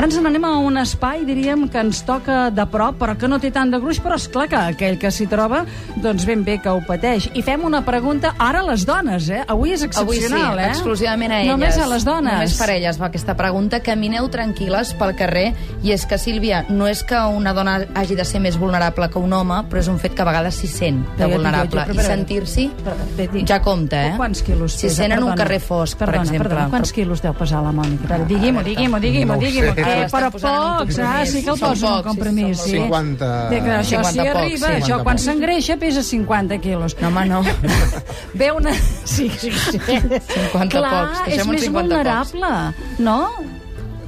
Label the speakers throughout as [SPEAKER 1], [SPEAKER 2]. [SPEAKER 1] Ara ens n'anem a un espai, diríem, que ens toca de prop, però que no té tant de gruix, però és clar que aquell que s'hi troba, doncs ben bé que ho pateix. I fem una pregunta ara a les dones, eh? Avui és
[SPEAKER 2] Avui sí,
[SPEAKER 1] excepcional, eh?
[SPEAKER 2] exclusivament a elles.
[SPEAKER 1] Només a les dones.
[SPEAKER 2] Només per elles va aquesta pregunta. Camineu tranquil·les pel carrer. I és que, Sílvia, no és que una dona hagi de ser més vulnerable que un home, però és un fet que a vegades s'hi sent de
[SPEAKER 1] Però jo- jo-
[SPEAKER 2] vulnerable.
[SPEAKER 1] jo-
[SPEAKER 2] I sentir-s'hi
[SPEAKER 1] Però, Beti,
[SPEAKER 2] ja compta, eh?
[SPEAKER 1] Quants quilos
[SPEAKER 2] Si
[SPEAKER 1] pesa?
[SPEAKER 2] sent en un
[SPEAKER 1] Perdona.
[SPEAKER 2] carrer fosc, per
[SPEAKER 1] Perdona,
[SPEAKER 2] exemple.
[SPEAKER 1] Perdona, quants quilos deu pesar la Mònica? Però digui-ho, digui-ho, digui-ho,
[SPEAKER 3] No ho
[SPEAKER 1] digui-ho.
[SPEAKER 3] sé.
[SPEAKER 1] que-
[SPEAKER 2] Ara l'estan
[SPEAKER 1] Però
[SPEAKER 2] posant en un
[SPEAKER 1] pocs, ah, sí que el
[SPEAKER 2] compromís.
[SPEAKER 1] poso en un
[SPEAKER 2] Són pocs,
[SPEAKER 1] compromís.
[SPEAKER 2] sí,
[SPEAKER 1] Sí.
[SPEAKER 2] són pocs.
[SPEAKER 3] 50.
[SPEAKER 1] De que això
[SPEAKER 2] 50
[SPEAKER 1] s'hi
[SPEAKER 2] pocs,
[SPEAKER 1] arriba,
[SPEAKER 2] sí.
[SPEAKER 1] això quan
[SPEAKER 3] 50 pocs.
[SPEAKER 1] s'engreixa pesa 50 quilos.
[SPEAKER 2] No, home, no.
[SPEAKER 1] Ve una... Sí, sí, sí.
[SPEAKER 2] 50
[SPEAKER 1] Clar,
[SPEAKER 2] pocs,
[SPEAKER 1] és
[SPEAKER 2] deixem uns
[SPEAKER 1] més
[SPEAKER 2] 50
[SPEAKER 1] vulnerable, no?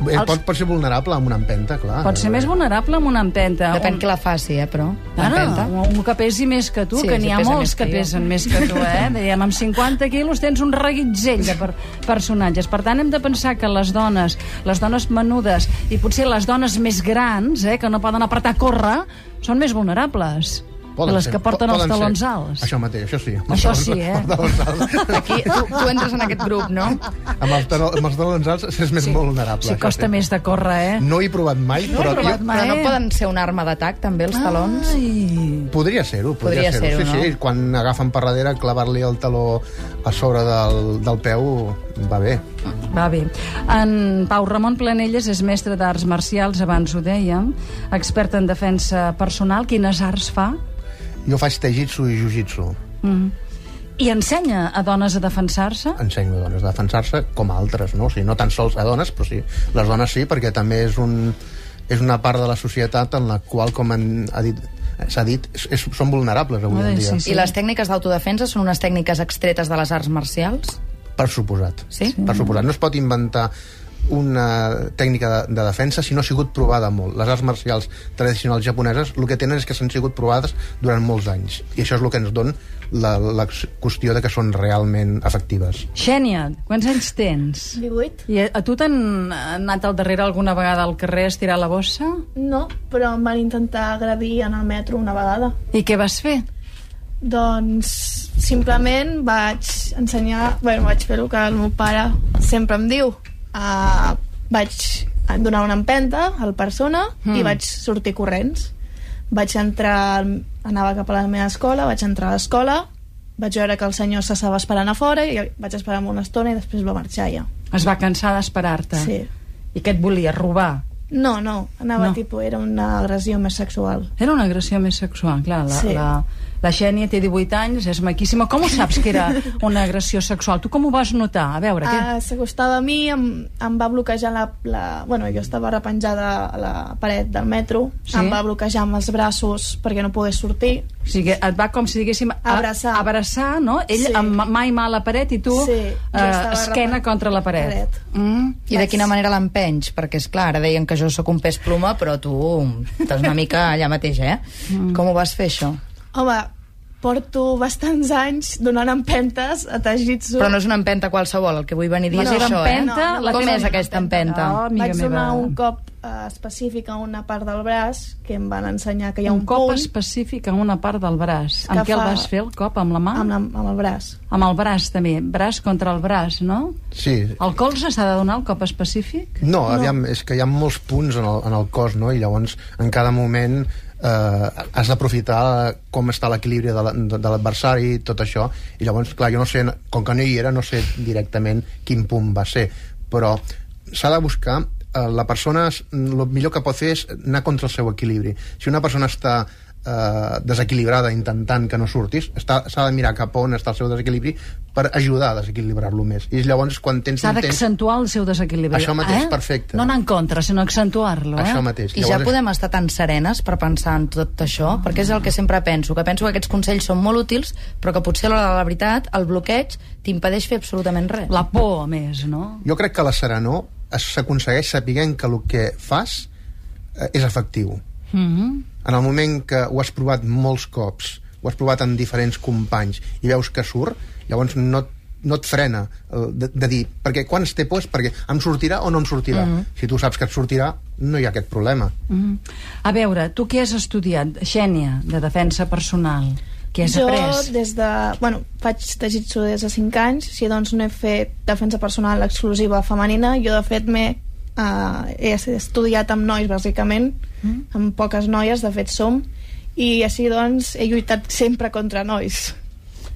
[SPEAKER 3] Eh, pot, pot ser vulnerable amb una empenta, clar. Eh,
[SPEAKER 1] Pot ser més vulnerable amb una empenta.
[SPEAKER 2] Depèn
[SPEAKER 1] Un-
[SPEAKER 2] que la faci, eh, però.
[SPEAKER 1] Ara,
[SPEAKER 2] Empenta.
[SPEAKER 1] un que pesi més que tu,
[SPEAKER 2] Sí,
[SPEAKER 1] que
[SPEAKER 2] sí,
[SPEAKER 1] n'hi ha
[SPEAKER 2] pesa
[SPEAKER 1] molts
[SPEAKER 2] més
[SPEAKER 1] que,
[SPEAKER 2] que jo.
[SPEAKER 1] pesen més que tu, eh? Dèiem, amb 50 quilos tens un reguitzell de per personatges. Per tant, hem de pensar que les dones, les dones menudes, i potser les dones més grans, eh, que no poden apretar a córrer, són més vulnerables que les que porten
[SPEAKER 3] po-
[SPEAKER 1] els
[SPEAKER 3] poden
[SPEAKER 1] talons
[SPEAKER 3] ser.
[SPEAKER 1] alts.
[SPEAKER 3] Això mateix, això sí. Amb
[SPEAKER 1] Això
[SPEAKER 3] els
[SPEAKER 1] sí, eh?
[SPEAKER 3] Amb els talons alts,
[SPEAKER 2] Aquí, tu, tu entres en aquest grup, no?
[SPEAKER 3] amb els talons, amb els talons alts s'és més vulnerable.
[SPEAKER 1] Sí,
[SPEAKER 3] això
[SPEAKER 1] costa
[SPEAKER 3] sí.
[SPEAKER 1] més de córrer, eh?
[SPEAKER 2] Mm.
[SPEAKER 3] No he provat mai,
[SPEAKER 1] he
[SPEAKER 3] però
[SPEAKER 1] provat
[SPEAKER 3] jo...
[SPEAKER 1] mai.
[SPEAKER 2] Però no poden ser una arma d'atac, també,
[SPEAKER 1] Ah.
[SPEAKER 2] els talons?
[SPEAKER 1] Ai.
[SPEAKER 3] Podria ser-ho,
[SPEAKER 2] Podria
[SPEAKER 3] podria, ser-ho.
[SPEAKER 2] ser-ho,
[SPEAKER 3] sí,
[SPEAKER 2] no?
[SPEAKER 3] sí, quan agafen per darrere, clavar-li el taló a sobre del, del peu va bé.
[SPEAKER 1] Va bé. En Pau Ramon Planelles és mestre d'arts marcials, abans ho dèiem, expert en defensa personal. Quines arts fa?
[SPEAKER 3] Jo faig taijitsu i jiu-jitsu.
[SPEAKER 1] I ensenya a dones a defensar-se?
[SPEAKER 3] ensenyo a dones a defensar-se com a altres, no? O sigui, no tan sols a dones, però sí, les dones sí, perquè també és un és una part de la societat en la qual, com en, ha dit, s'ha dit, és, és, són vulnerables avui
[SPEAKER 1] Molt bé,
[SPEAKER 3] en dia.
[SPEAKER 1] sí.
[SPEAKER 2] I les tècniques d'autodefensa són unes tècniques extretes de les arts marcials?
[SPEAKER 3] Per suposat.
[SPEAKER 2] Sí?
[SPEAKER 3] Per suposat. No es pot inventar una tècnica de, de defensa si no ha sigut provada molt. Les arts marcials tradicionals japoneses el que tenen és que s'han sigut provades durant molts anys. I això és el que ens dona la, la qüestió de que són realment efectives.
[SPEAKER 1] Xènia, quants anys tens?
[SPEAKER 4] 18?
[SPEAKER 1] I a, a tu t'han anat al darrere alguna vegada al carrer a estirar la bossa?
[SPEAKER 4] No, però em van intentar agredir en el metro una vegada.
[SPEAKER 1] I què vas fer?
[SPEAKER 4] Doncs simplement vaig ensenyar... Bueno, vaig fer el que el meu pare sempre em diu. Uh, vaig donar una empenta a la persona mm. i vaig sortir corrents. Vaig entrar... al- Anava cap a la meva escola, vaig entrar a l'escola, vaig veure que el senyor s'estava esperant a fora i vaig esperar una estona i després va marxar ja.
[SPEAKER 1] Es va cansar d'esperar-te?
[SPEAKER 4] Sí.
[SPEAKER 1] I què et volia, robar?
[SPEAKER 4] No, no, anava
[SPEAKER 1] No.
[SPEAKER 4] no. tipus... Era una agressió més sexual.
[SPEAKER 1] Era una agressió més sexual, clar. La,
[SPEAKER 4] Sí.
[SPEAKER 1] la, la Xènia té 18 anys, és maquíssima. Com ho saps que era una agressió sexual? Tu com ho vas notar? A veure, què?
[SPEAKER 4] Ah, S'acostava a mi, em, em va bloquejar la, la... Bueno, jo estava repenjada a la paret del metro,
[SPEAKER 1] Sí?
[SPEAKER 4] sí? em va bloquejar amb els braços perquè no pogués sortir.
[SPEAKER 1] O sigui, et va com si diguéssim... a-
[SPEAKER 4] Abraçar.
[SPEAKER 1] Abraçar, no? Ell
[SPEAKER 4] Sí.
[SPEAKER 1] amb mai mà a la paret i tu
[SPEAKER 4] Sí,
[SPEAKER 1] eh,
[SPEAKER 4] jo estava
[SPEAKER 1] esquena
[SPEAKER 4] repen-
[SPEAKER 1] contra la paret.
[SPEAKER 4] paret.
[SPEAKER 1] Mm?
[SPEAKER 2] I
[SPEAKER 3] eh,
[SPEAKER 2] de
[SPEAKER 4] Vaig-
[SPEAKER 2] quina manera l'empenys? Perquè, és clar, ara deien que jo sóc un pes ploma, però tu estàs una mica allà mateix, eh?
[SPEAKER 1] Mm.
[SPEAKER 2] Com ho vas fer, això?
[SPEAKER 4] Home, porto bastants anys donant empentes a Tajitsu.
[SPEAKER 2] Però no és una empenta qualsevol, el que vull venir a dir
[SPEAKER 4] No,
[SPEAKER 2] és això,
[SPEAKER 1] empenta,
[SPEAKER 2] eh?
[SPEAKER 4] la
[SPEAKER 2] Com
[SPEAKER 4] que no
[SPEAKER 2] és
[SPEAKER 4] és
[SPEAKER 2] aquesta empenta?
[SPEAKER 1] empenta? amiga
[SPEAKER 4] Vaig donar
[SPEAKER 1] meva.
[SPEAKER 4] un cop eh, específic a una part del braç que em van ensenyar que hi ha un,
[SPEAKER 1] un cop
[SPEAKER 4] punt
[SPEAKER 1] específic en una part del braç.
[SPEAKER 4] Que
[SPEAKER 1] Amb què el
[SPEAKER 4] fa-
[SPEAKER 1] vas fer, el cop? Amb la mà?
[SPEAKER 4] amb, la, amb el braç.
[SPEAKER 1] Amb el braç, també. Braç contra el braç, no?
[SPEAKER 3] Sí,
[SPEAKER 1] El colze s'ha de donar el cop específic?
[SPEAKER 3] No, aviam, és que hi ha molts punts en el, en el cos, no? I llavors, en cada moment, eh, has d'aprofitar com està l'equilibri de la- de de l'adversari, tot això. I llavors, clar, jo no sé, com que no hi era, no sé directament quin punt va ser. Però s'ha de buscar eh, la persona, el millor que pot fer és anar contra el seu equilibri. Si una persona està eh, desequilibrada intentant que no surtis, està- s'ha de mirar cap on està el seu desequilibri per ajudar a desequilibrar-lo més. I llavors, quan tens
[SPEAKER 1] S'ha
[SPEAKER 3] un temps-
[SPEAKER 1] d'accentuar el seu desequilibri.
[SPEAKER 3] Això mateix,
[SPEAKER 1] eh?
[SPEAKER 3] perfecte.
[SPEAKER 1] No anar en contra, sinó accentuar-lo. Eh?
[SPEAKER 3] Això mateix.
[SPEAKER 2] I ja
[SPEAKER 3] Llavors-
[SPEAKER 2] podem estar tan serenes per pensar en tot
[SPEAKER 1] Ah.
[SPEAKER 2] això, perquè és el que sempre penso, que penso que aquests consells són molt útils, però que potser a l'hora de la veritat el bloqueig t'impedeix fer absolutament res.
[SPEAKER 1] La por, a més, no?
[SPEAKER 3] Jo crec que la serenor es- s'aconsegueix sapiguent que el que fas eh, és efectiu.
[SPEAKER 1] Mm
[SPEAKER 3] En el moment que ho has provat molts cops, ho has provat amb diferents companys i veus que surt, llavors no, no et frena eh, de, de dir, perquè quan es té por és perquè em sortirà o no em sortirà. Si tu saps que et sortirà, no hi ha aquest problema.
[SPEAKER 1] -hmm. A veure, tu què has estudiat, Xènia, de defensa personal? Què has
[SPEAKER 4] jo
[SPEAKER 1] après?
[SPEAKER 4] des de... Bueno, faig Tajitsu des de 5 anys, si doncs no he fet defensa personal exclusiva femenina, jo de fet m'he Uh, he estudiat amb nois, bàsicament, mm. amb poques noies, de fet som, i així, doncs, he lluitat sempre contra nois.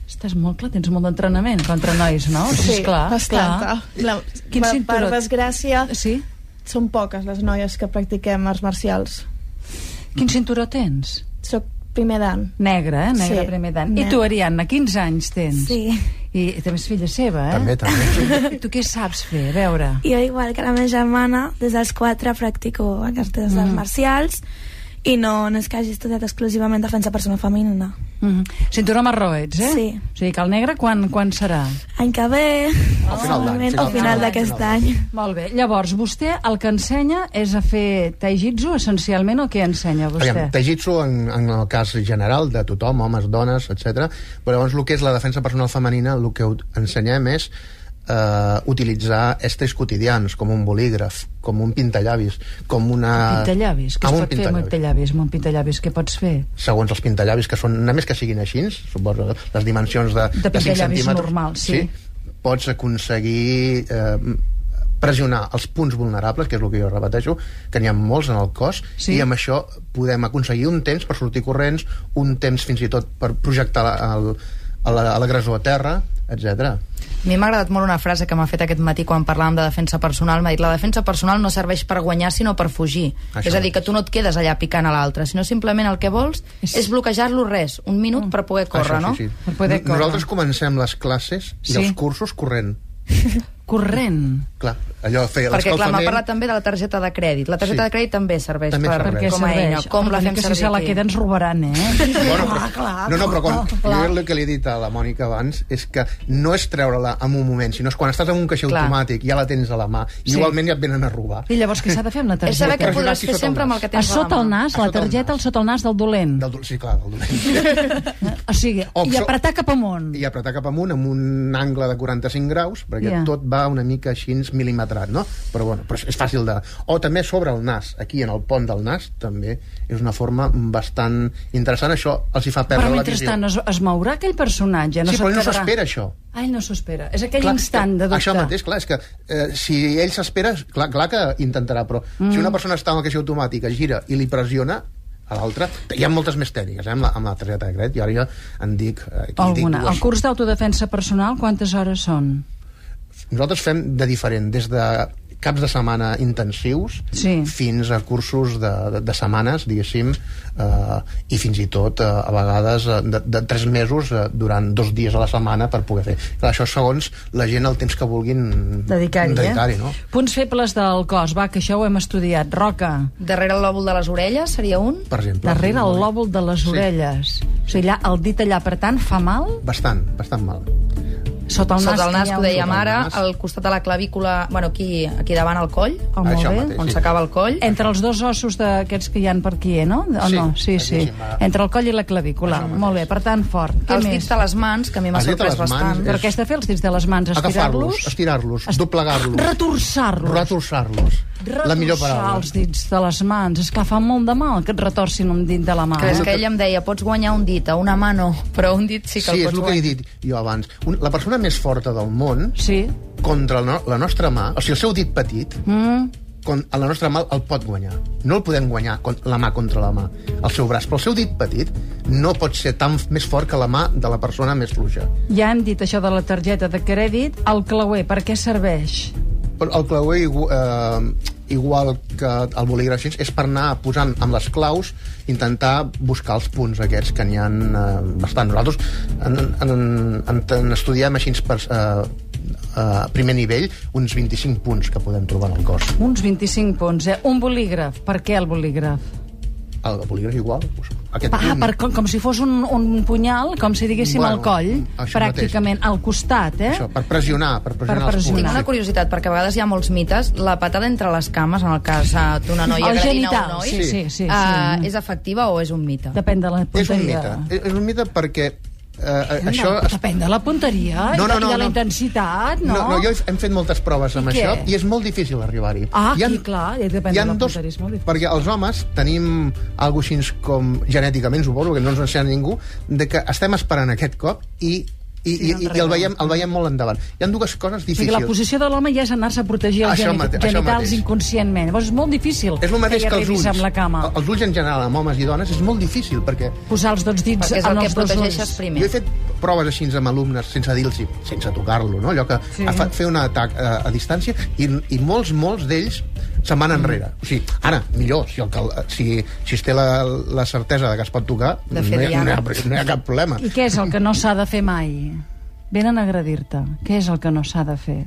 [SPEAKER 1] Estàs molt clar, tens molt d'entrenament contra nois, no?
[SPEAKER 4] Sí,
[SPEAKER 1] Ah, clar,
[SPEAKER 4] bastanta. La,
[SPEAKER 1] Quin
[SPEAKER 4] per, per
[SPEAKER 1] cinturó?
[SPEAKER 4] desgràcia,
[SPEAKER 1] clar. Sí?
[SPEAKER 4] són poques les noies que practiquem arts marcials.
[SPEAKER 1] Quin cinturó tens?
[SPEAKER 4] Soc primer d'any.
[SPEAKER 1] Negre, eh? Negre
[SPEAKER 4] Sí,
[SPEAKER 1] primer d'any. I
[SPEAKER 4] negre.
[SPEAKER 1] tu, Ariadna, quins anys tens?
[SPEAKER 5] Sí.
[SPEAKER 1] I també és filla seva, eh?
[SPEAKER 3] També, també.
[SPEAKER 1] Tu què saps fer? A veure.
[SPEAKER 5] Jo, igual que la meva germana, des dels 4 practico aquestes mm. marcials i no, no és que hagi estudiat exclusivament defensa persona femenina.
[SPEAKER 1] Mm -hmm. Cinturó marró ets, eh?
[SPEAKER 5] Sí.
[SPEAKER 1] O sigui que el negre quan, quan serà?
[SPEAKER 5] Any que ve,
[SPEAKER 3] Al final d'any,
[SPEAKER 5] segurament,
[SPEAKER 3] final
[SPEAKER 5] al final
[SPEAKER 3] d'any,
[SPEAKER 5] d'aquest
[SPEAKER 3] final
[SPEAKER 5] any.
[SPEAKER 1] Molt bé. Llavors, vostè el que ensenya és a fer taijitsu, essencialment, o què ensenya vostè?
[SPEAKER 3] Aviam, taijitsu en, en el cas general de tothom, homes, dones, etc. Però llavors el que és la defensa personal femenina el que ut- ensenyem és eh, utilitzar estris quotidians com un bolígraf, com un pintallavis com una...
[SPEAKER 1] Pintallavis, què es
[SPEAKER 3] Ah, Amb un
[SPEAKER 1] pot fer amb un pintallavis? Amb un pintallavis, què pots fer?
[SPEAKER 3] segons els pintallavis, que són, només que siguin així, suposo, les dimensions de,
[SPEAKER 1] De
[SPEAKER 3] cinc
[SPEAKER 1] pintallavis
[SPEAKER 3] centímetres,
[SPEAKER 1] normals, sí.
[SPEAKER 3] pots aconseguir eh, pressionar els punts vulnerables, que és el que jo repeteixo, que n'hi ha molts en el cos,
[SPEAKER 1] Sí.
[SPEAKER 3] i amb això podem aconseguir un temps per sortir corrents, un temps fins i tot per projectar la- el- a la- a l'agressor a terra, etc.
[SPEAKER 2] A mi m'ha agradat molt una frase que m'ha fet aquest matí quan parlàvem de defensa personal. M'ha dit, la defensa personal no serveix per guanyar, sinó per fugir.
[SPEAKER 3] Això
[SPEAKER 2] Això és a dir,
[SPEAKER 3] mateix.
[SPEAKER 2] que tu no et quedes allà picant a l'altre, sinó simplement el que vols
[SPEAKER 1] És- Mm.
[SPEAKER 2] és bloquejar-lo res, un minut per poder córrer,
[SPEAKER 3] això,
[SPEAKER 2] no?
[SPEAKER 3] sí, sí.
[SPEAKER 1] Per poder córrer.
[SPEAKER 3] Nosaltres comencem les classes i
[SPEAKER 1] Sí.
[SPEAKER 3] els cursos corrent.
[SPEAKER 1] Corrent.
[SPEAKER 3] Clar, allò, fer
[SPEAKER 2] Perquè, clar, m'ha
[SPEAKER 3] l'escalfament-
[SPEAKER 2] parlat també de la targeta de crèdit. La targeta
[SPEAKER 3] Sí.
[SPEAKER 2] de crèdit també serveix
[SPEAKER 3] També
[SPEAKER 2] per,
[SPEAKER 3] serveix.
[SPEAKER 1] Perquè
[SPEAKER 2] com a eina. Com la fem
[SPEAKER 1] que
[SPEAKER 2] servir
[SPEAKER 1] si se la
[SPEAKER 2] aquí?
[SPEAKER 1] queda ens robaran, eh?
[SPEAKER 3] Bueno, no, no, però quan, jo el que li he dit a la Mònica abans és que no és treure-la en un moment, sinó és quan estàs en un caixer
[SPEAKER 2] Clar.
[SPEAKER 3] automàtic, ja la tens a la mà, i
[SPEAKER 1] Sí.
[SPEAKER 3] igualment ja et venen a robar.
[SPEAKER 1] I llavors què s'ha de fer amb la
[SPEAKER 2] És saber
[SPEAKER 1] targeta?
[SPEAKER 2] que
[SPEAKER 3] Targeta.
[SPEAKER 2] podràs
[SPEAKER 3] Aquí
[SPEAKER 2] fer
[SPEAKER 3] sota
[SPEAKER 2] sempre
[SPEAKER 3] el
[SPEAKER 2] amb el que
[SPEAKER 1] A
[SPEAKER 2] tens a la
[SPEAKER 1] sota el
[SPEAKER 2] mà.
[SPEAKER 1] nas,
[SPEAKER 3] A
[SPEAKER 1] la
[SPEAKER 3] sota el
[SPEAKER 1] targeta
[SPEAKER 3] nas.
[SPEAKER 1] al sota el nas del dolent. Eh?
[SPEAKER 3] Del, do- sí, clar, del dolent.
[SPEAKER 1] O sigui,
[SPEAKER 3] O
[SPEAKER 1] i
[SPEAKER 3] so-
[SPEAKER 1] apretar cap amunt.
[SPEAKER 3] I apretar cap amunt amb un angle de 45 graus, perquè
[SPEAKER 1] Ja.
[SPEAKER 3] yeah. tot va una mica així mil·limetrat, no? Però, bueno, però és- és fàcil de... O també sobre el nas, aquí en el pont del nas, també és una forma bastant interessant. Això els hi fa perdre
[SPEAKER 1] Però
[SPEAKER 3] la visió.
[SPEAKER 1] mentrestant es, es mourà aquell personatge. No
[SPEAKER 3] sí, però ell no
[SPEAKER 1] s'acabarà.
[SPEAKER 3] s'espera, això.
[SPEAKER 1] Ah, ell no s'ho espera. És aquell instant de dubte.
[SPEAKER 3] Això mateix, clar, és que eh, si ell s'espera, clar, clar que intentarà, però mm. si una persona està en la caixer automàtica, gira i li pressiona, a l'altra, hi ha moltes més tècniques, eh, amb la, amb la targeta de crèdit, i ara jo en dic... eh, Aquí en
[SPEAKER 1] Alguna.
[SPEAKER 3] Dic
[SPEAKER 1] El
[SPEAKER 3] dues.
[SPEAKER 1] curs d'autodefensa personal, quantes hores són?
[SPEAKER 3] Nosaltres fem de diferent, des de caps de setmana intensius
[SPEAKER 1] Sí.
[SPEAKER 3] fins a cursos de, de, de setmanes, diguéssim, eh, i fins i tot eh, a vegades eh, de, de tres mesos eh, durant dos dies a la setmana per poder fer. Clar, això segons la gent el temps que vulguin
[SPEAKER 1] Dedicar-hi, eh?
[SPEAKER 3] dedicar no?
[SPEAKER 1] Punts febles del cos, va, que això ho hem estudiat. Roca,
[SPEAKER 2] Darrere el lòbul de les orelles seria un?
[SPEAKER 3] Per exemple.
[SPEAKER 1] darrere el lòbul de les
[SPEAKER 3] Sí.
[SPEAKER 1] orelles. O sigui, allà, el dit allà, per tant, fa mal?
[SPEAKER 3] Bastant, bastant mal.
[SPEAKER 1] Sota el nas,
[SPEAKER 2] Sota el
[SPEAKER 1] hi ha
[SPEAKER 2] nas, que ho
[SPEAKER 1] un-
[SPEAKER 2] dèiem
[SPEAKER 3] Sota el
[SPEAKER 2] ara,
[SPEAKER 3] nas.
[SPEAKER 2] al costat de la clavícula, bueno, aquí, aquí davant al coll,
[SPEAKER 1] Oh, molt
[SPEAKER 3] Això
[SPEAKER 1] bé.
[SPEAKER 3] mateix.
[SPEAKER 2] on
[SPEAKER 3] sí.
[SPEAKER 2] s'acaba el coll.
[SPEAKER 1] Entre els dos ossos d'aquests que hi han per aquí, eh, no? O
[SPEAKER 3] Sí,
[SPEAKER 1] no? Sí, sí.
[SPEAKER 3] aquí, sí,
[SPEAKER 1] Entre el coll i la clavícula. Molt bé, per tant, fort. Què
[SPEAKER 2] Els
[SPEAKER 1] més?
[SPEAKER 2] dits de les mans, que a mi m'ha
[SPEAKER 3] Els dits de
[SPEAKER 2] sorprès
[SPEAKER 3] les mans eh,
[SPEAKER 2] bastant.
[SPEAKER 3] és-
[SPEAKER 1] Però què has de fer els dits de les mans?
[SPEAKER 3] Agafar-los,
[SPEAKER 1] Estirar-los?
[SPEAKER 3] estirar-los, doblegar-los,
[SPEAKER 1] Retorçar-los.
[SPEAKER 3] retorçar-los. La millor
[SPEAKER 1] Retorçar
[SPEAKER 3] paraula.
[SPEAKER 1] els dits de les mans. És que fa molt de mal que et retorcin un dit de la mà.
[SPEAKER 2] Crec
[SPEAKER 1] eh?
[SPEAKER 2] que ell em deia, pots guanyar un dit, a una mano, però un dit sí que
[SPEAKER 3] Sí,
[SPEAKER 2] el
[SPEAKER 3] és
[SPEAKER 2] pots
[SPEAKER 3] el que he
[SPEAKER 2] guanyar.
[SPEAKER 3] dit jo abans. Un, la persona més forta del món,
[SPEAKER 1] Sí.
[SPEAKER 3] contra el no, la nostra mà, o sigui, el seu dit petit,
[SPEAKER 1] Mm.
[SPEAKER 3] con, a la nostra mà el pot guanyar. No el podem guanyar con, la mà contra la mà, el seu braç, però el seu dit petit no pot ser tan més fort que la mà de la persona més fluixa.
[SPEAKER 1] Ja hem dit això de la targeta de crèdit. El clauer, per què serveix?
[SPEAKER 3] Però el clauer, igu- eh, igual que el bolígraf així, és per anar posant amb les claus, intentar buscar els punts aquests que n'hi ha eh, bastant. Nosaltres en, en, en, en estudiem així per, eh, eh, primer nivell uns 25 punts que podem trobar en el cos.
[SPEAKER 1] Uns 25 punts, eh? Un bolígraf. Per què el bolígraf?
[SPEAKER 3] El bolígraf igual, doncs, aquest
[SPEAKER 1] Ah,
[SPEAKER 3] punt.
[SPEAKER 1] per, com, com si fos un, un punyal, com si diguéssim al
[SPEAKER 3] Bueno,
[SPEAKER 1] coll,
[SPEAKER 3] això
[SPEAKER 1] pràcticament al costat, eh?
[SPEAKER 3] Això, per pressionar, per pressionar,
[SPEAKER 1] pressionar.
[SPEAKER 2] Tinc
[SPEAKER 3] els
[SPEAKER 2] una
[SPEAKER 3] punts.
[SPEAKER 2] curiositat, perquè a vegades hi ha molts mites. La patada entre les cames, en el cas eh, d'una noia
[SPEAKER 1] El
[SPEAKER 2] agredint a
[SPEAKER 1] genital,
[SPEAKER 2] un noi,
[SPEAKER 1] sí, sí, sí, sí.
[SPEAKER 2] eh, és efectiva o és un mite?
[SPEAKER 1] Depèn de la
[SPEAKER 3] És un
[SPEAKER 1] punteria.
[SPEAKER 3] mite. És, és un mite perquè eh,
[SPEAKER 1] Anda,
[SPEAKER 3] això... es-
[SPEAKER 1] Depèn de la punteria no, no, no, i de la
[SPEAKER 3] no.
[SPEAKER 1] intensitat, no?
[SPEAKER 3] No, no, jo hem fet moltes proves amb
[SPEAKER 1] I què?
[SPEAKER 3] això i és molt difícil arribar-hi.
[SPEAKER 1] Ah,
[SPEAKER 3] Hi ha-
[SPEAKER 1] sí, clar, i depèn
[SPEAKER 3] hi ha
[SPEAKER 1] de la
[SPEAKER 3] dos,
[SPEAKER 1] punteria, és molt difícil.
[SPEAKER 3] Perquè els homes tenim algo així com genèticament, suposo, que no ens ensenya ningú, de que estem esperant aquest cop i i,
[SPEAKER 1] Sí,
[SPEAKER 3] i, i, i el, veiem, el veiem molt endavant. Hi ha dues
[SPEAKER 1] O
[SPEAKER 3] coses
[SPEAKER 1] sigui,
[SPEAKER 3] difícils.
[SPEAKER 1] la posició de l'home ja és anar-se a protegir els
[SPEAKER 3] Això
[SPEAKER 1] geni-
[SPEAKER 3] mate- això
[SPEAKER 1] genitals
[SPEAKER 3] mateix.
[SPEAKER 1] inconscientment. Llavors és molt difícil
[SPEAKER 3] és el mateix
[SPEAKER 1] que hi
[SPEAKER 3] que els
[SPEAKER 1] arribis
[SPEAKER 3] ulls.
[SPEAKER 1] amb la cama.
[SPEAKER 3] El- Els ulls en general, amb homes i dones, és molt difícil, perquè
[SPEAKER 1] Posar els dos dits
[SPEAKER 2] Perquè és el
[SPEAKER 1] en
[SPEAKER 2] que
[SPEAKER 1] els dos
[SPEAKER 2] protegeixes
[SPEAKER 1] ulls.
[SPEAKER 2] primer.
[SPEAKER 3] jo he fet proves així amb alumnes, sense dir-los, sense tocar-lo, no? allò que
[SPEAKER 1] Sí.
[SPEAKER 3] sí. a fa- fer un atac a, a distància, i, i molts, molts d'ells se'n
[SPEAKER 2] Mm.
[SPEAKER 3] van enrere. O sigui, ara, millor, si, el, cal- si, si es té la, la certesa de que es pot tocar,
[SPEAKER 2] De
[SPEAKER 3] no
[SPEAKER 2] fet,
[SPEAKER 3] hi, ha, no, hi
[SPEAKER 2] Diana.
[SPEAKER 3] ha, no hi ha cap problema.
[SPEAKER 1] I què és el que no s'ha de fer mai? Venen a agredir-te. Què és el que no s'ha de fer?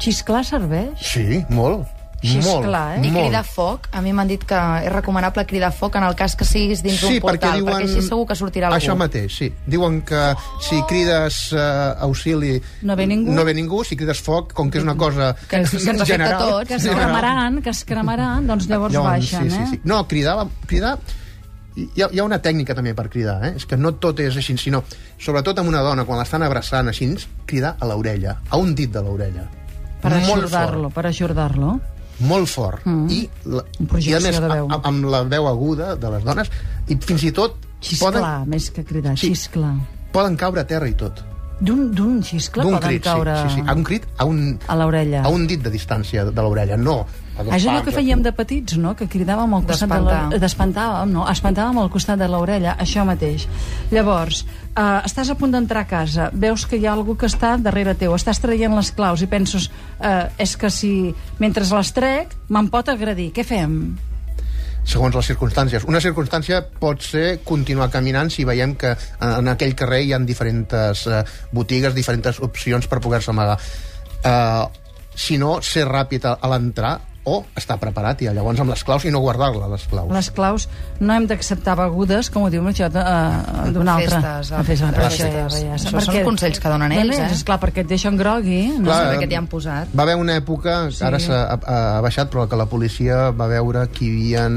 [SPEAKER 1] Xisclar serveix?
[SPEAKER 3] Sí, molt.
[SPEAKER 1] Xisclar,
[SPEAKER 3] molt,
[SPEAKER 1] eh?
[SPEAKER 2] I
[SPEAKER 3] molt.
[SPEAKER 2] cridar foc, a mi m'han dit que és recomanable cridar foc en el cas que siguis dins d'un portal, perquè, així segur que sortirà algú.
[SPEAKER 3] Això mateix, sí. Diuen que si crides uh, auxili...
[SPEAKER 1] No ve ningú.
[SPEAKER 3] No ve ningú, si crides foc, com que és una cosa
[SPEAKER 2] Mm. Que ens afecta a
[SPEAKER 3] general...
[SPEAKER 2] tots,
[SPEAKER 1] Que es cremaran, que es cremaran, doncs llavors, baixen,
[SPEAKER 3] sí,
[SPEAKER 1] eh?
[SPEAKER 3] sí, sí. No, cridar... la- cridar hi ha, hi ha una tècnica també per cridar, eh? És que no tot és així, sinó... Sobretot amb una dona, quan l'estan abraçant així, cridar a l'orella, a un dit de l'orella.
[SPEAKER 1] Per
[SPEAKER 3] Molt fort
[SPEAKER 1] ajordar-lo, per ajordar-lo.
[SPEAKER 3] molt fort
[SPEAKER 1] Mm.
[SPEAKER 3] mm. i, la, i
[SPEAKER 1] Projecció
[SPEAKER 3] a més
[SPEAKER 1] de
[SPEAKER 3] a,
[SPEAKER 1] veu.
[SPEAKER 3] a, amb la veu aguda de les dones i fins i tot
[SPEAKER 1] Xisclar,
[SPEAKER 3] poden,
[SPEAKER 1] més que cridar,
[SPEAKER 3] Sí.
[SPEAKER 1] xisclar.
[SPEAKER 3] poden caure a terra i tot
[SPEAKER 1] D'un d'un xiscle
[SPEAKER 3] d'un
[SPEAKER 1] poden
[SPEAKER 3] crit,
[SPEAKER 1] caure
[SPEAKER 3] sí, sí, sí. a un crit a un,
[SPEAKER 1] a l'orella.
[SPEAKER 3] a un dit de distància de l'orella no a dos
[SPEAKER 1] Això és el
[SPEAKER 3] pams,
[SPEAKER 1] que
[SPEAKER 3] o-
[SPEAKER 1] fèiem de petits, no? Que cridàvem al costat de la-
[SPEAKER 2] D'espantar.
[SPEAKER 1] D'espantàvem, no? Espantàvem al costat de l'orella, això mateix. Llavors, eh, estàs a punt d'entrar a casa, veus que hi ha algú que està darrere teu, estàs traient les claus i penses, eh, és que si mentre les trec me'n pot agredir, què fem?
[SPEAKER 3] segons les circumstàncies. Una circumstància pot ser continuar caminant si veiem que eh, en aquell carrer hi ha diferents eh, botigues, diferents opcions per poder-se amagar. Eh, si no, ser ràpid a, a l'entrar o estar preparat i llavors amb les claus i no guardar-la, les claus.
[SPEAKER 1] Les claus no hem d'acceptar begudes, com ho diu això, eh, d'una altra.
[SPEAKER 2] Festes, a-
[SPEAKER 1] Festes,
[SPEAKER 2] a
[SPEAKER 1] festes.
[SPEAKER 2] festes.
[SPEAKER 1] ja,
[SPEAKER 2] Això
[SPEAKER 1] perquè-
[SPEAKER 2] són consells que donen ells, eh?
[SPEAKER 1] Esclar, perquè et deixen grogui, no?
[SPEAKER 2] Clar. saber què t'hi han posat.
[SPEAKER 3] Va haver una època, sí. ara s'ha ha, ha baixat, però que la policia va veure que hi havia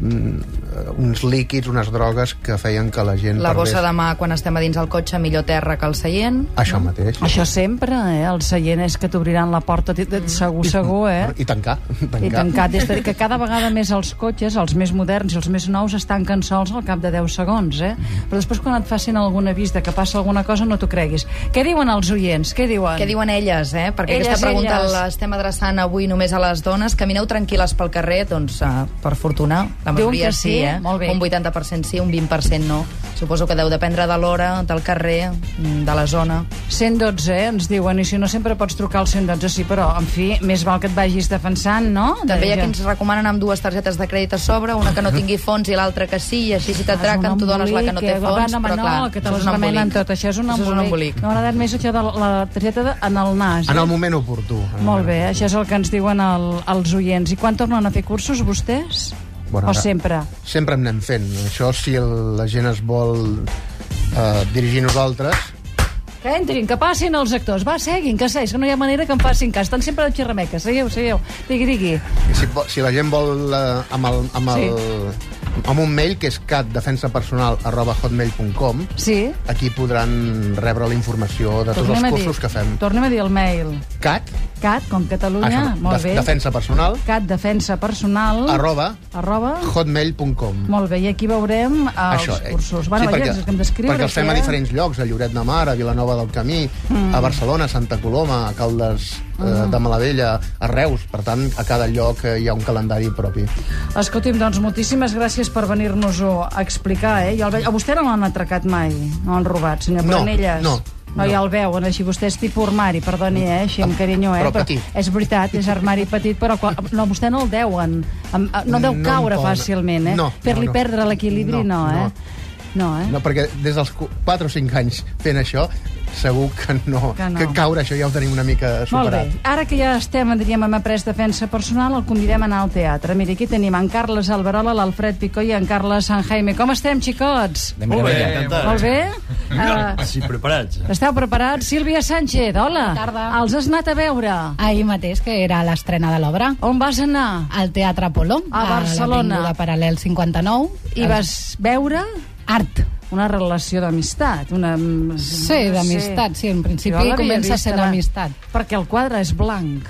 [SPEAKER 3] mm, uns líquids, unes drogues que feien que la gent
[SPEAKER 2] La
[SPEAKER 3] perdés...
[SPEAKER 2] bossa de mà quan estem a dins del cotxe, millor terra que el seient.
[SPEAKER 3] Això mateix.
[SPEAKER 1] Això sempre, eh? El seient és que t'obriran la porta, t- t- segur, segur, eh?
[SPEAKER 3] I tancar. tancar.
[SPEAKER 1] I tancat. És a dir, que cada vegada més els cotxes, els més moderns i els més nous, es tanquen sols al cap de 10 segons, eh?
[SPEAKER 3] Mm.
[SPEAKER 1] Però després, quan et facin algun avís de que passa alguna cosa, no t'ho creguis. Què diuen els oients? Què diuen?
[SPEAKER 2] Què diuen elles, eh? Perquè
[SPEAKER 1] Elles,
[SPEAKER 2] aquesta pregunta
[SPEAKER 1] elles.
[SPEAKER 2] l'estem adreçant avui només a les dones. Camineu tranquil·les pel carrer? Doncs, uh, per fortuna, la
[SPEAKER 1] Diuen
[SPEAKER 2] majoria
[SPEAKER 1] que
[SPEAKER 2] sí,
[SPEAKER 1] sí,
[SPEAKER 2] eh?
[SPEAKER 1] molt bé.
[SPEAKER 2] Un 80% sí, un 20% no. Suposo que deu dependre de l'hora, del carrer, mm, de la zona.
[SPEAKER 1] 112, eh? ens diuen, i si no sempre pots trucar al 112, sí, però, en fi, més val que et vagis defensant, no?
[SPEAKER 2] També hi
[SPEAKER 1] Deia.
[SPEAKER 2] ha
[SPEAKER 1] "Ah,
[SPEAKER 2] qui ens recomanen amb dues targetes de crèdit a sobre, una que no tingui fons i l'altra que sí, i així si t'atraquen tu dones la que no té
[SPEAKER 1] embolic, eh?
[SPEAKER 2] fons,
[SPEAKER 1] Va, no,
[SPEAKER 2] però
[SPEAKER 1] no,
[SPEAKER 2] clar,
[SPEAKER 1] que te
[SPEAKER 2] això és un
[SPEAKER 1] l'estamenen
[SPEAKER 2] embolic.
[SPEAKER 1] tot, això és un embolic.
[SPEAKER 2] embolic.
[SPEAKER 1] No m'ha agradat més això de la, la targeta de, en el nas.
[SPEAKER 3] En
[SPEAKER 1] eh?
[SPEAKER 3] el moment oportú. En el
[SPEAKER 1] Molt bé,
[SPEAKER 3] moment
[SPEAKER 1] això és el que ens diuen el, els oients. I quan tornen a fer cursos, vostès?
[SPEAKER 3] Bueno,
[SPEAKER 1] o
[SPEAKER 3] ara-
[SPEAKER 1] sempre?
[SPEAKER 3] Sempre en anem fent. Això, si el, la gent es vol eh, dirigir a nosaltres,
[SPEAKER 1] Que entrin, que passin els actors. Va, seguin, que seguin, que no hi ha manera que en facin cas. Estan sempre de xerrameca. Seguiu, seguiu. Digui, digui.
[SPEAKER 3] si, po- si la gent vol eh, amb, el, amb, el, amb un mail que és catdefensapersonal arroba hotmail.com
[SPEAKER 1] Sí?
[SPEAKER 3] aquí podran rebre la informació de tots els cursos que fem.
[SPEAKER 1] Tornem a dir el mail.
[SPEAKER 3] Cat,
[SPEAKER 1] Cat, com Catalunya,
[SPEAKER 3] això,
[SPEAKER 1] molt
[SPEAKER 3] de,
[SPEAKER 1] bé.
[SPEAKER 3] defensa personal,
[SPEAKER 1] Cat, defensa personal.
[SPEAKER 3] arroba
[SPEAKER 1] Arroba.
[SPEAKER 3] hotmail.com.
[SPEAKER 1] Molt bé, i aquí veurem eh, els
[SPEAKER 3] eh?
[SPEAKER 1] cursos. Bueno,
[SPEAKER 3] perquè,
[SPEAKER 1] vaja, és que Mm. hem d'escriure.
[SPEAKER 3] perquè els fem a
[SPEAKER 1] eh?
[SPEAKER 3] diferents llocs, a Lloret de Mar, a Vilanova del Camí, a Barcelona, a Santa Coloma, a Caldes
[SPEAKER 1] Mm.
[SPEAKER 3] eh, de Malavella, a Reus. Per tant, a cada lloc eh, hi ha un calendari propi.
[SPEAKER 1] Escolti'm, doncs moltíssimes gràcies per venir-nos-ho a explicar, eh? Ja el veig... A vostè no l'han atracat mai, no l'han robat, senyor
[SPEAKER 3] No,
[SPEAKER 1] Planelles.
[SPEAKER 3] no,
[SPEAKER 1] No, ja el veuen, així vostè és tipus armari, perdoni, eh, així amb carinyo, eh?
[SPEAKER 3] Però petit.
[SPEAKER 1] És veritat, és armari petit, però qual... no, vostè no el deuen, Em- eh, no deu
[SPEAKER 3] No em
[SPEAKER 1] caure
[SPEAKER 3] poden.
[SPEAKER 1] fàcilment, eh?
[SPEAKER 3] No,
[SPEAKER 1] Fer-li
[SPEAKER 3] no, no.
[SPEAKER 1] perdre l'equilibri, no,
[SPEAKER 3] No,
[SPEAKER 1] eh?
[SPEAKER 3] no.
[SPEAKER 1] No, eh?
[SPEAKER 3] No, perquè des dels 4 o 5 anys fent això, segur que no,
[SPEAKER 1] Que no.
[SPEAKER 3] que caure això ja ho tenim una mica
[SPEAKER 1] Molt
[SPEAKER 3] superat.
[SPEAKER 1] bé. Ara que ja estem, diríem, hem après defensa personal, el convidem a anar al teatre. Mira, aquí tenim en Carles Alberola, l'Alfred Picó i en Carles San Jaime. Com estem, xicots?
[SPEAKER 6] De meravella. Encantat.
[SPEAKER 1] Molt bé? Uh,
[SPEAKER 6] Així, preparats.
[SPEAKER 1] esteu preparats? Sílvia Sánchez, hola.
[SPEAKER 7] Bona tarda.
[SPEAKER 1] Els has anat a veure.
[SPEAKER 7] Ahir mateix, que era l'estrena de l'obra,
[SPEAKER 1] On vas anar?
[SPEAKER 7] al Teatre Apolo,
[SPEAKER 1] A Barcelona.
[SPEAKER 7] A l'Avinguda Paral·lel 59.
[SPEAKER 1] I vas veure
[SPEAKER 7] Art.
[SPEAKER 1] una relació d'amistat. Una...
[SPEAKER 7] Sí, d'amistat, sí, en principi
[SPEAKER 1] l'havia
[SPEAKER 7] comença
[SPEAKER 1] vist
[SPEAKER 7] sent
[SPEAKER 1] abans,
[SPEAKER 7] amistat.
[SPEAKER 1] Perquè el quadre és blanc.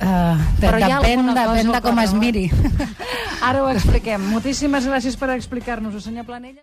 [SPEAKER 7] Uh, de,
[SPEAKER 1] Però hi ha
[SPEAKER 7] depèn,
[SPEAKER 1] alguna cosa
[SPEAKER 7] depèn de
[SPEAKER 1] al
[SPEAKER 7] com es
[SPEAKER 1] quadre, eh? no?
[SPEAKER 7] miri.
[SPEAKER 1] Ara ho expliquem. Moltíssimes gràcies per explicar-nos-ho, senyor Planella.